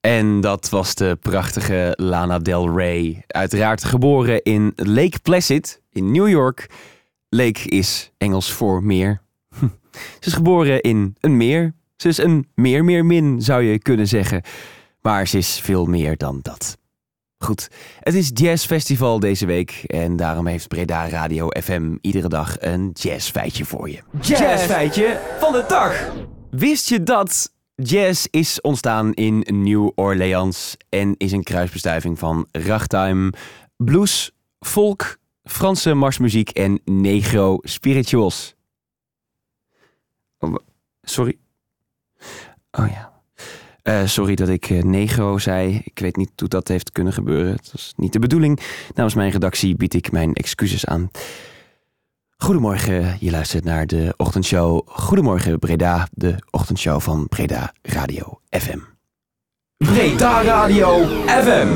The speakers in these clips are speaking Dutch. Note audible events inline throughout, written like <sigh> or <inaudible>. En dat was de prachtige Lana Del Rey. Uiteraard geboren in Lake Placid in New York. Lake is Engels voor meer. <laughs> Hm. Ze is geboren in een meer. Ze is een meer, meer, min, zou je kunnen zeggen. Maar ze is veel meer dan dat. Goed, het is jazzfestival deze week en daarom heeft Breda Radio FM iedere dag een jazzfeitje voor je. Jazzfeitje van de dag! Wist je dat jazz is ontstaan in New Orleans en is een kruisbestuiving van ragtime, blues, folk, Franse marsmuziek en negro spirituals? Oh, sorry. Oh ja. Eh, sorry dat ik eh, negro zei. Ik weet niet hoe dat heeft kunnen gebeuren. Het was niet de bedoeling. Namens mijn redactie bied ik mijn excuses aan. Goedemorgen, je luistert naar de ochtendshow. Goedemorgen Breda, de ochtendshow van Breda Radio FM. Breda Radio FM!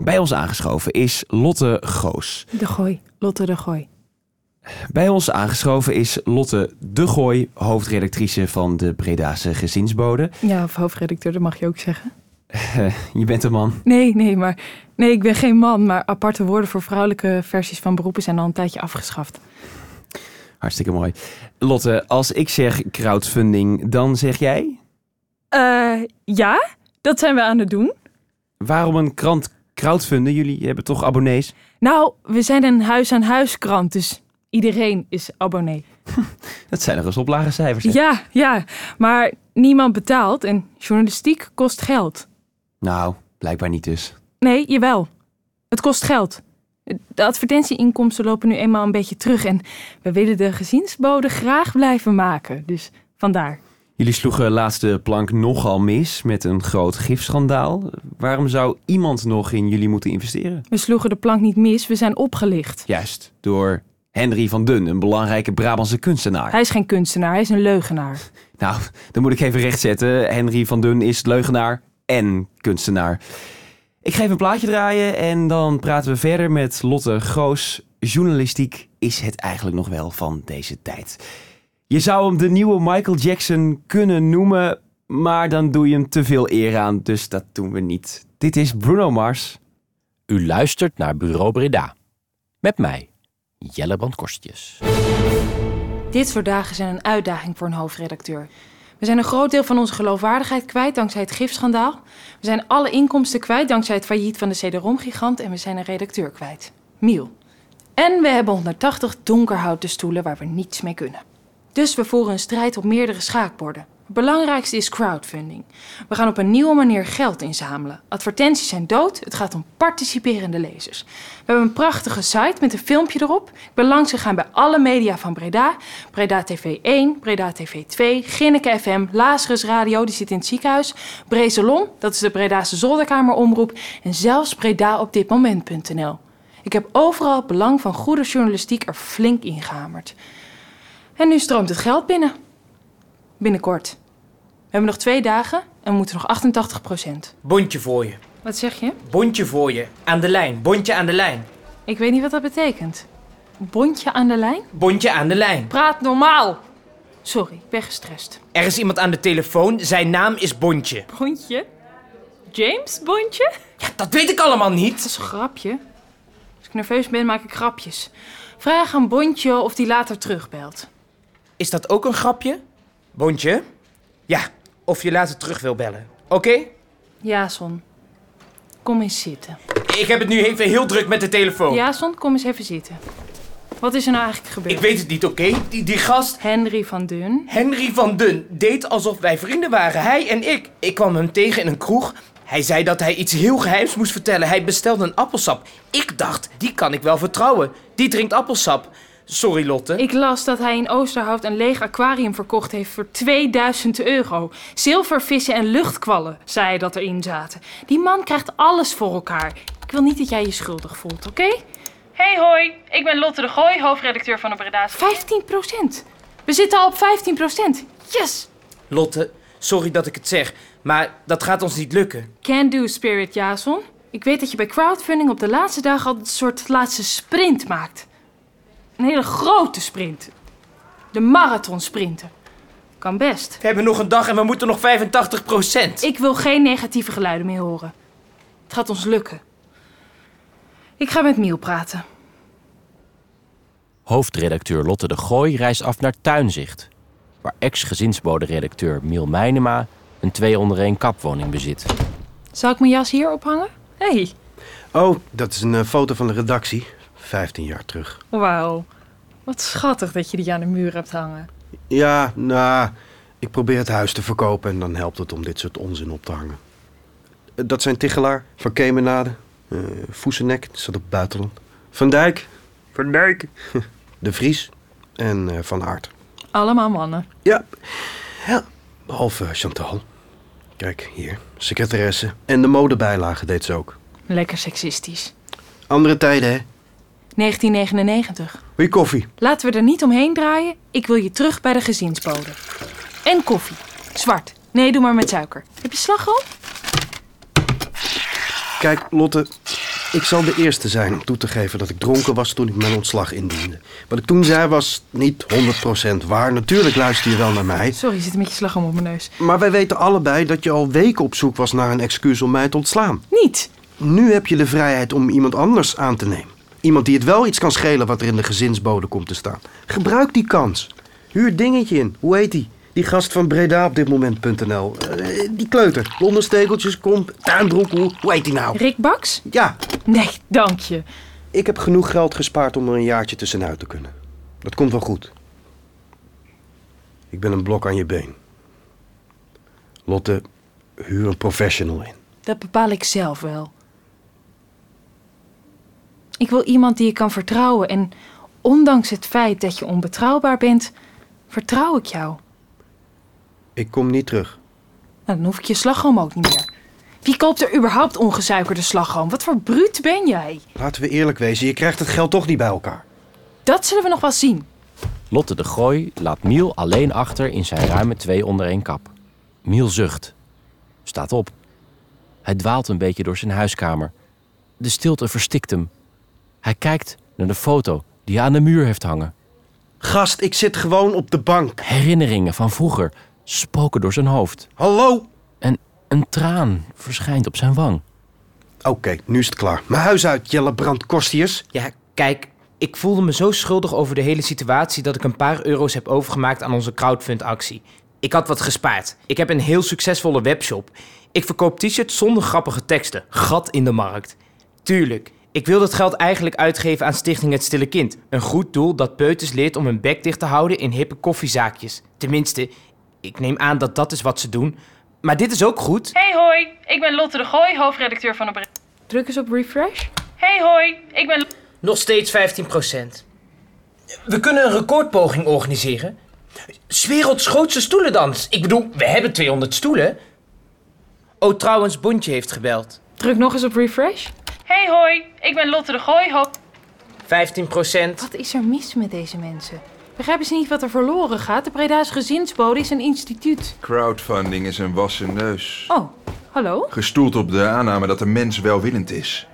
Bij ons aangeschoven is Lotte Goos. De Gooi. Lotte de Gooi. Bij ons aangeschoven is Lotte de Gooi, hoofdredactrice van de Bredaanse Gezinsbode. Ja, of hoofdredacteur, dat mag je ook zeggen. Je bent een man. Nee, nee, maar... Nee, ik ben geen man, maar aparte woorden voor vrouwelijke versies van beroepen zijn al een tijdje afgeschaft. Hartstikke mooi. Lotte, als ik zeg crowdfunding, dan zeg jij Eh, ja, dat zijn we aan het doen. waarom een krant crowdfunden? Jullie hebben toch abonnees? Nou, we zijn een huis-aan-huis krant, dus iedereen is abonnee. Dat zijn nog eens oplagencijfers. hè? Ja, ja, maar niemand betaalt en journalistiek kost geld. Nou, blijkbaar niet dus. Nee, jawel. Het kost geld. De advertentieinkomsten lopen nu eenmaal een beetje terug en we willen de gezinsbode graag blijven maken. Dus vandaar. Jullie sloegen laatst de plank nogal mis met een groot gifschandaal. Waarom zou iemand nog in jullie moeten investeren? We sloegen de plank niet mis, we zijn opgelicht. Juist, door Henry van Dun, een belangrijke Brabantse kunstenaar. Hij is geen kunstenaar, hij is een leugenaar. Nou, dan moet ik even rechtzetten. Henry van Dun is leugenaar en kunstenaar. Ik ga even een plaatje draaien en dan praten we verder met Lotte Goos. Journalistiek is het eigenlijk nog wel van deze tijd. Je zou hem de nieuwe Michael Jackson kunnen noemen, maar dan doe je hem te veel eer aan, dus dat doen we niet. Dit is Bruno Mars. U luistert naar Bureau Breda. Met mij, Jelle Brandkorstjes. Dit soort dagen zijn een uitdaging voor een hoofdredacteur. We zijn een groot deel van onze geloofwaardigheid kwijt dankzij het gifschandaal. We zijn alle inkomsten kwijt dankzij het failliet van de CD-ROM-gigant en we zijn een redacteur kwijt. Miel. En we hebben 180 donkerhouten stoelen waar we niets mee kunnen. Dus we voeren een strijd op meerdere schaakborden. Het belangrijkste is crowdfunding. We gaan op een nieuwe manier geld inzamelen. Advertenties zijn dood, het gaat om participerende lezers. We hebben een prachtige site met een filmpje erop. Ik ben langs gegaan bij alle media van Breda. Breda TV 1, Breda TV 2, Ginneke FM, Lazarus Radio, die zit in het ziekenhuis. Brezelon, dat is de Bredaanse zolderkameromroep. En zelfs Breda op dit moment.nl. Ik heb overal het belang van goede journalistiek er flink ingehamerd. En nu stroomt het geld binnen. Binnenkort. We hebben nog twee dagen en we moeten nog 88 Bondje voor je. Wat zeg je? Bondje voor je. Aan de lijn. Bondje aan de lijn. Ik weet niet wat dat betekent. Bondje aan de lijn? Bondje aan de lijn. Praat normaal! Sorry, ik ben gestrest. Er is iemand aan de telefoon. Zijn naam is Bondje. Bondje? James Bondje? Ja, dat weet ik allemaal Dat niet. is een grapje. Als ik nerveus ben, maak ik grapjes. Vraag aan Bondje of die later terugbelt. Is dat ook een grapje? Bondje? Ja, of je later terug wil bellen. Oké? Jason, kom eens zitten. Ik heb het nu even heel druk met de telefoon. Jason, kom eens even zitten. Wat is er nou eigenlijk gebeurd? Ik weet het niet, oké? Die, die gast, Henry van Dun. Henry van Dun, deed alsof wij vrienden waren. Hij en ik. Ik kwam hem tegen in een kroeg. Hij zei dat hij iets heel geheims moest vertellen. Hij bestelde een appelsap. Ik dacht, die kan ik wel vertrouwen. Die drinkt appelsap. Sorry, Lotte. Ik las dat hij in Oosterhout een leeg aquarium verkocht heeft voor 2000 euro. Zilvervissen en luchtkwallen, zei hij dat erin zaten. Die man krijgt alles voor elkaar. Ik wil niet dat jij je schuldig voelt, oké? Hey hoi, ik ben Lotte de Gooi, hoofdredacteur van de Breda's. 15 We zitten al op 15 Yes! Lotte, sorry dat ik het zeg, maar dat gaat ons niet lukken. Can do spirit, Jason. Ik weet dat je bij crowdfunding op de laatste dag altijd een soort laatste sprint maakt. Een hele grote sprint. De marathon sprinten. Ik kan best. We hebben nog een dag en we moeten nog 85 procent. Ik wil geen negatieve geluiden meer horen. Het gaat ons lukken. Ik ga met Miel praten. Hoofdredacteur Lotte de Gooi reist af naar Tuinzicht, waar ex-gezinsbode-redacteur Miel Meinema een twee onder één kapwoning bezit. Zal ik mijn jas hier ophangen? Hé, hey. Oh, dat is een eh, foto van de redactie. 15 jaar terug. wauw. Wat schattig dat je die aan de muur hebt hangen. Ja, nou, ik probeer het huis te verkopen en dan helpt het om dit soort onzin op te hangen. Eh, Dat zijn Tichelaar, Van Kemenade, eh Voesenek, dat zat op het buitenland. Van Dijk. Van Dijk. <laughs> De Vries en eh, Van Aert. Allemaal mannen. Ja, ja. behalve Chantal. Kijk, hier, secretaresse. En de modebijlage deed ze ook. Lekker seksistisch. Andere tijden, hè? 1999. Wil je koffie? Laten we er niet omheen draaien. Ik wil je terug bij de gezinsbode. En koffie. Zwart. Nee, doe maar met suiker. Heb je slagroom? Kijk, Lotte, ik zal de eerste zijn om toe te geven dat ik dronken was toen ik mijn ontslag indiende. Wat ik toen zei was niet 100% waar. Natuurlijk luister je wel naar mij. Sorry, zit een beetje slagroom op mijn neus. Maar wij weten allebei dat je al weken op zoek was naar een excuus om mij te ontslaan. Niet. Nu heb je de vrijheid om iemand anders aan te nemen. Iemand die het wel iets kan schelen wat er in de gezinsbode komt te staan. Gebruik die kans. Huur dingetje in. Hoe heet die? Die gast van Breda op dit moment.nl. Eh, die kleuter. Londenstekeltjes, komp, tuinbroek. Hoe hoe heet die nou? Rick Baks? Ja, Nee, dank je. ik heb genoeg geld gespaard om er een jaartje tussenuit te kunnen. Dat komt wel goed. Ik ben een blok aan je been. Lotte, huur een professional in. Dat bepaal ik zelf wel. Ik wil iemand die ik kan vertrouwen en ondanks het feit dat je onbetrouwbaar bent, vertrouw ik jou. Ik kom niet terug. Nou, dan hoef ik je slagroom ook niet meer. Wie koopt er überhaupt ongesuikerde slagroom? Wat voor bruut ben jij? Laten we eerlijk wezen, je krijgt het geld toch niet bij elkaar. Dat zullen we nog wel zien. Lotte de Gooi laat Miel alleen achter in zijn ruime twee onder één kap. Miel zucht. Staat op. Hij dwaalt een beetje door zijn huiskamer. De stilte verstikt hem. Hij kijkt naar de foto die hij aan de muur heeft hangen. Gast, ik zit gewoon op de bank. Herinneringen van vroeger spoken door zijn hoofd. Hallo? En een traan verschijnt op zijn wang. Oké, nu is het klaar. Mijn huis uit, Jelle Brand Kostius. Ja, kijk, ik voelde me zo schuldig over de hele situatie dat ik een paar euro's heb overgemaakt aan onze crowdfundactie. Ik had wat gespaard. Ik heb een heel succesvolle webshop. Ik verkoop t-shirts zonder grappige teksten. Gat in de markt. Tuurlijk. Ik wil dat geld eigenlijk uitgeven aan Stichting Het Stille Kind. Een goed doel dat peuters leert om hun bek dicht te houden in hippe koffiezaakjes. Tenminste, ik neem aan dat dat is wat ze doen. Maar dit is ook goed. Hey hoi, ik ben Lotte de Gooi, hoofdredacteur van de Bre. Druk eens op refresh. Hey hoi, ik ben... Nog steeds 15%. We kunnen een recordpoging organiseren. 's werelds grootste stoelendans. Ik bedoel, we hebben 200 stoelen. Oh, trouwens, Bontje heeft gebeld. Druk nog eens op refresh. Hey hoi, ik ben Lotte de Gooi, hoofd... 15%. Wat is er mis met deze mensen? Begrijpen ze niet wat er verloren gaat? De Breda's gezinsbode is een instituut. Crowdfunding is een wassen neus. Oh, hallo? Gestoeld op de aanname dat de mens welwillend is.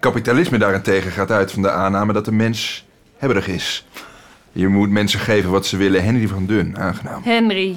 Kapitalisme daarentegen gaat uit van de aanname dat de mens hebberig is. Je moet mensen geven wat ze willen. Henry van Dun, aangenaam. Henry,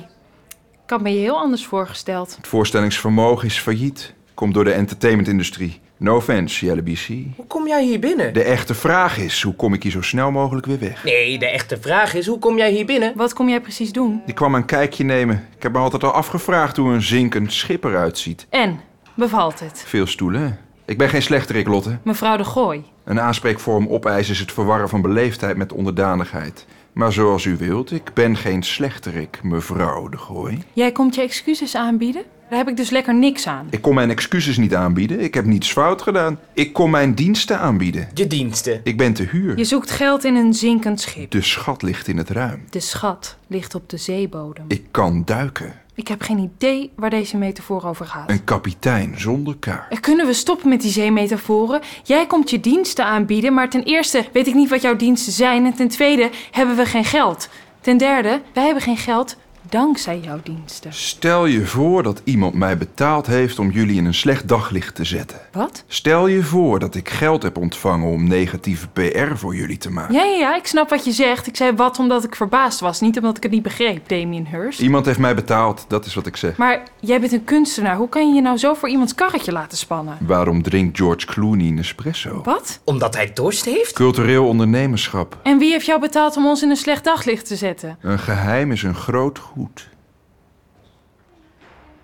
ik had me je heel anders voorgesteld. Het voorstellingsvermogen is failliet. Komt door de entertainmentindustrie. No offense, Jelle BC. Hoe kom jij hier binnen? De echte vraag is, hoe kom ik hier zo snel mogelijk weer weg? Nee, de echte vraag is, hoe kom jij hier binnen? Wat kom jij precies doen? Ik kwam een kijkje nemen. Ik heb me altijd al afgevraagd hoe een zinkend schip eruit ziet. En, bevalt het? Veel stoelen. hè? Ik ben geen slechterik, Lotte. Mevrouw de Gooi. Een aanspreekvorm opeisen is het verwarren van beleefdheid met onderdanigheid. Maar zoals u wilt, ik ben geen slechterik, mevrouw de Gooi. Jij komt je excuses aanbieden? Daar heb ik dus lekker niks aan. Ik kon mijn excuses niet aanbieden, ik heb niets fout gedaan. Ik kon mijn diensten aanbieden. Je diensten. Ik ben te huur. Je zoekt geld in een zinkend schip. De schat ligt in het ruim. De schat ligt op de zeebodem. Ik kan duiken. Ik heb geen idee waar deze metafoor over gaat. Een kapitein zonder kaart. Eh, Kunnen we stoppen met die zeemetaforen? Jij komt je diensten aanbieden, maar ten eerste weet ik niet wat jouw diensten zijn. En ten tweede hebben we geen geld. Ten derde, wij hebben geen geld, dankzij jouw diensten. Stel je voor dat iemand mij betaald heeft om jullie in een slecht daglicht te zetten. Wat? Stel je voor dat ik geld heb ontvangen om negatieve PR voor jullie te maken. Ja, ja, ja, ik snap wat je zegt. Ik zei wat omdat ik verbaasd was, niet omdat ik het niet begreep, Damien Hirst. Iemand heeft mij betaald, dat is wat ik zeg. Maar jij bent een kunstenaar. Hoe kan je je nou zo voor iemands karretje laten spannen? Waarom drinkt George Clooney een espresso? Wat? Omdat hij dorst heeft? Cultureel ondernemerschap. En wie heeft jou betaald om ons in een slecht daglicht te zetten? Een geheim is een groot goed.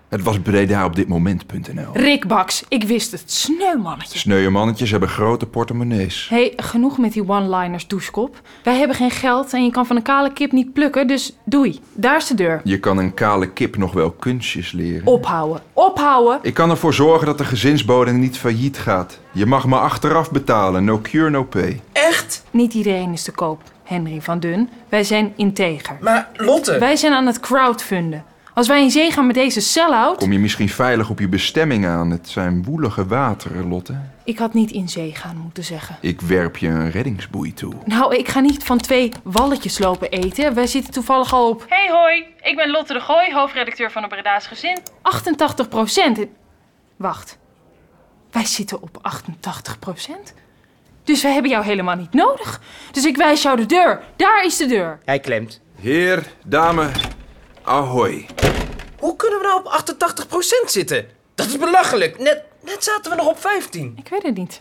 Het was Breda op dit moment.nl. Rick Baks, ik wist het. Sneu mannetje. Sneuwe mannetjes hebben grote portemonnees. Hé, hey, genoeg met die one-liners, douchekop. Wij hebben geen geld en je kan van een kale kip niet plukken, dus doei. Daar is de deur. Je kan een kale kip nog wel kunstjes leren. Ophouden. Ophouden. Ik kan ervoor zorgen dat de gezinsbode niet failliet gaat. Je mag me achteraf betalen. No cure, no pay. Echt? Niet iedereen is te koop, Henry van Dun. Wij zijn integer. Maar Lotte... Wij zijn aan het crowdfunden. Als wij in zee gaan met deze sell-out... Kom je misschien veilig op je bestemming aan. Het zijn woelige wateren, Lotte. Ik had niet in zee gaan moeten zeggen. Ik werp je een reddingsboei toe. Nou, ik ga niet van twee walletjes lopen eten. Wij zitten toevallig al op... Hey hoi, ik ben Lotte de Gooi, hoofdredacteur van de Breda's Gezin. 88 procent. Wacht. Wij zitten op 88 procent? Dus wij hebben jou helemaal niet nodig. Dus ik wijs jou de deur. Daar is de deur. Hij klemt. Heer, dame, ahoy. Hoe kunnen we nou op 88% zitten? Dat is belachelijk. Net, net zaten we nog op 15. Ik weet het niet.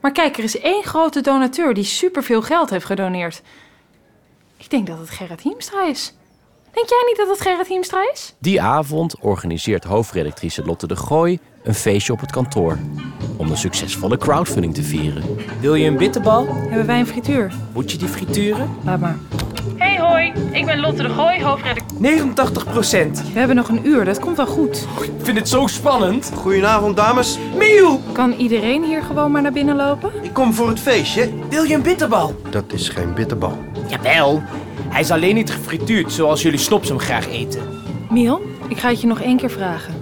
Maar kijk, er is één grote donateur die superveel geld heeft gedoneerd. Ik denk dat het Gerrit Hiemstra is. Denk jij niet dat het Gerrit Hiemstra is? Die avond organiseert hoofdredactrice Lotte de Gooi een feestje op het kantoor. Om de succesvolle crowdfunding te vieren. Wil je een bitterbal? Hebben wij een frituur? Moet je die frituren? Laat maar. Hey hoi, ik ben Lotte de Gooi, hoofdredacteur. 89 procent. We hebben nog een uur, dat komt wel goed. Ik vind het zo spannend. Goedenavond, dames. Miel, Kan iedereen hier gewoon maar naar binnen lopen? Ik kom voor het feestje. wil je een bitterbal? Dat is geen bitterbal. Jawel. Hij is alleen niet gefrituurd zoals jullie snops hem graag eten. Miel, ik ga het je nog één keer vragen.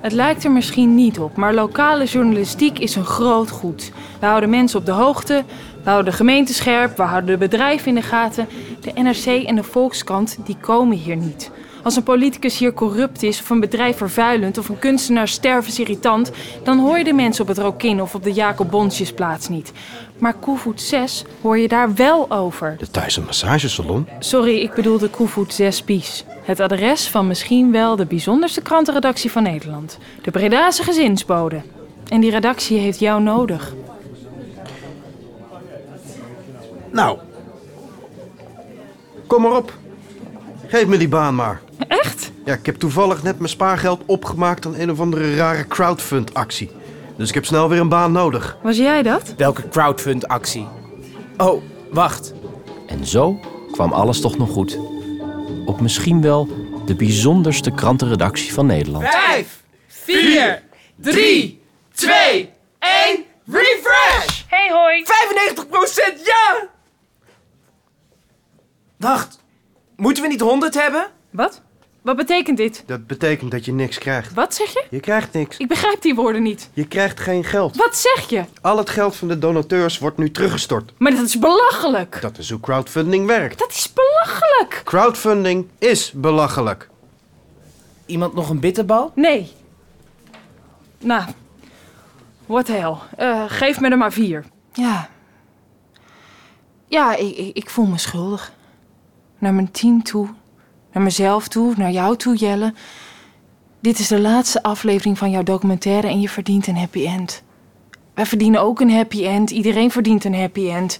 Het lijkt er misschien niet op, maar lokale journalistiek is een groot goed. We houden mensen op de hoogte, we houden de gemeente scherp, we houden de bedrijven in de gaten. De NRC en de Volkskrant, die komen hier niet. Als een politicus hier corrupt is, of een bedrijf vervuilend, of een kunstenaar stervensirritant, dan hoor je de mensen op het Rokin of op de Jacob Bonsjesplaats niet. Maar Koevoet 6 hoor je daar wel over. De thuis een massagesalon. Sorry, ik bedoelde Koevoet 6 Pies. Het adres van misschien wel de bijzonderste krantenredactie van Nederland. De Bredase Gezinsbode. En die redactie heeft jou nodig. Nou. Kom maar op. Geef me die baan maar. Echt? Ja, ik heb toevallig net mijn spaargeld opgemaakt aan een of andere rare crowdfund-actie. Dus ik heb snel weer een baan nodig. Was jij dat? Welke crowdfund-actie? Oh, wacht. En zo kwam alles toch nog goed. Op misschien wel de bijzonderste krantenredactie van Nederland. Vijf, vier, drie, twee, één, refresh! Hey hoi! 95 ja! Wacht, moeten we niet 100 hebben? Wat? Wat betekent dit? Dat betekent dat je niks krijgt. Wat zeg je? Je krijgt niks. Ik begrijp die woorden niet. Je krijgt geen geld. Wat zeg je? Al het geld van de donateurs wordt nu teruggestort. Maar dat is belachelijk! Dat is hoe crowdfunding werkt. Dat is belachelijk! Crowdfunding is belachelijk. Iemand nog een bitterbal? Nee. Nou, what the hell. Eh, geef me er maar vier. Ja. Ja, ik, ik, ik voel me schuldig. Naar mijn team toe. Naar mezelf toe. Naar jou toe, Jelle. Dit is de laatste aflevering van jouw documentaire en je verdient een happy end. Wij verdienen ook een happy end. Iedereen verdient een happy end.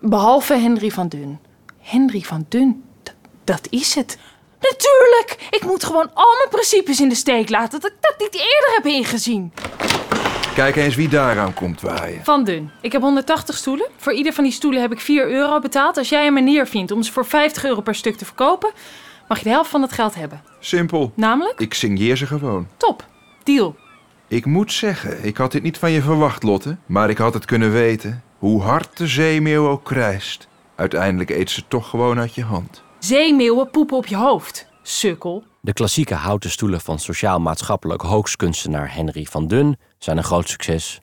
Behalve Henry van Dun. Henry van Dun, d- dat is het. Natuurlijk! Ik moet gewoon al mijn principes in de steek laten. Dat ik dat niet eerder heb ingezien. Kijk eens wie daaraan komt waaien. Van Dun, ik heb 180 stoelen. Voor ieder van die stoelen heb ik 4 euro betaald. Als jij een manier vindt om ze voor 50 euro per stuk te verkopen, mag je de helft van het geld hebben. Simpel. Namelijk, Ik signeer ze gewoon. top. Deal. Ik moet zeggen, ik had dit niet van je verwacht, Lotte. Maar ik had het kunnen weten. Hoe hard de zeemeeuw ook krijst. Uiteindelijk eet ze toch gewoon uit je hand. Zeemeeuwen poepen op je hoofd. Sukkel. De klassieke houten stoelen van sociaal-maatschappelijk hoaxkunstenaar Henry van Dun zijn een groot succes.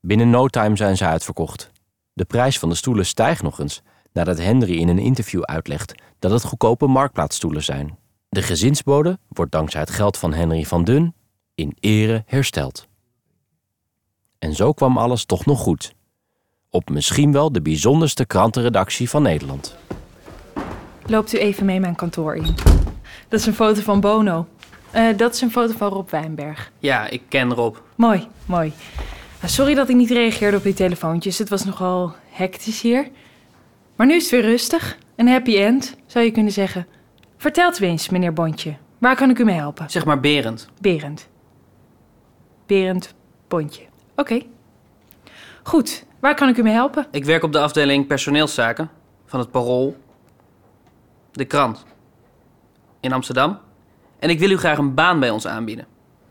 Binnen no time zijn ze uitverkocht. De prijs van de stoelen stijgt nog eens nadat Henry in een interview uitlegt dat het goedkope marktplaatsstoelen zijn. De gezinsbode wordt dankzij het geld van Henry van Dun in ere hersteld. En zo kwam alles toch nog goed. Op misschien wel de bijzonderste krantenredactie van Nederland. Loopt u even mee mijn kantoor in. Dat is een foto van Bono. Eh, dat is een foto van Rob Wijnberg. Ja, ik ken Rob. Mooi, mooi. Nou, Sorry dat ik niet reageerde op die telefoontjes. Het was nogal hectisch hier. Maar nu is het weer rustig. Een happy end, zou je kunnen zeggen. Vertelt u eens, meneer Bontje. Waar kan ik u mee helpen? Zeg maar Berend. Berend. Berend Bontje. Oké. Goed, waar kan ik u mee helpen? Ik werk op de afdeling personeelszaken van het Parool. De krant. In Amsterdam. En ik wil u graag een baan bij ons aanbieden.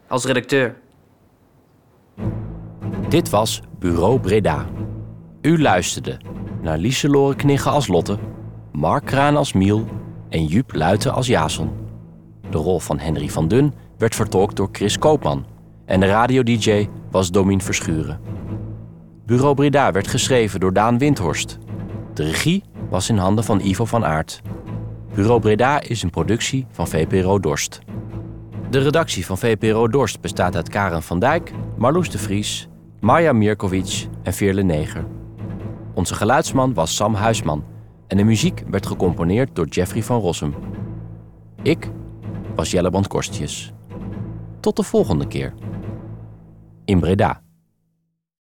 Als redacteur. Dit was Bureau Breda. U luisterde naar Lieselore Knigge als Lotte, Mark Kraan als Miel en Jup Luiten als Jason. De rol van Henry van Dun werd vertolkt door Chris Koopman en de radio-dj was Domien Verschuren. Bureau Breda werd geschreven door Daan Windhorst. De regie was in handen van Ivo van Aert. Bureau Breda is een productie van VPRO Dorst. De redactie van VPRO Dorst bestaat uit Karen van Dijk, Marloes de Vries, Marja Mirkovic en Veerle Neger. Onze geluidsman was Sam Huisman en de muziek werd gecomponeerd door Jeffrey van Rossum. Ik was Jelle Korstjes. Tot de volgende keer. In Breda.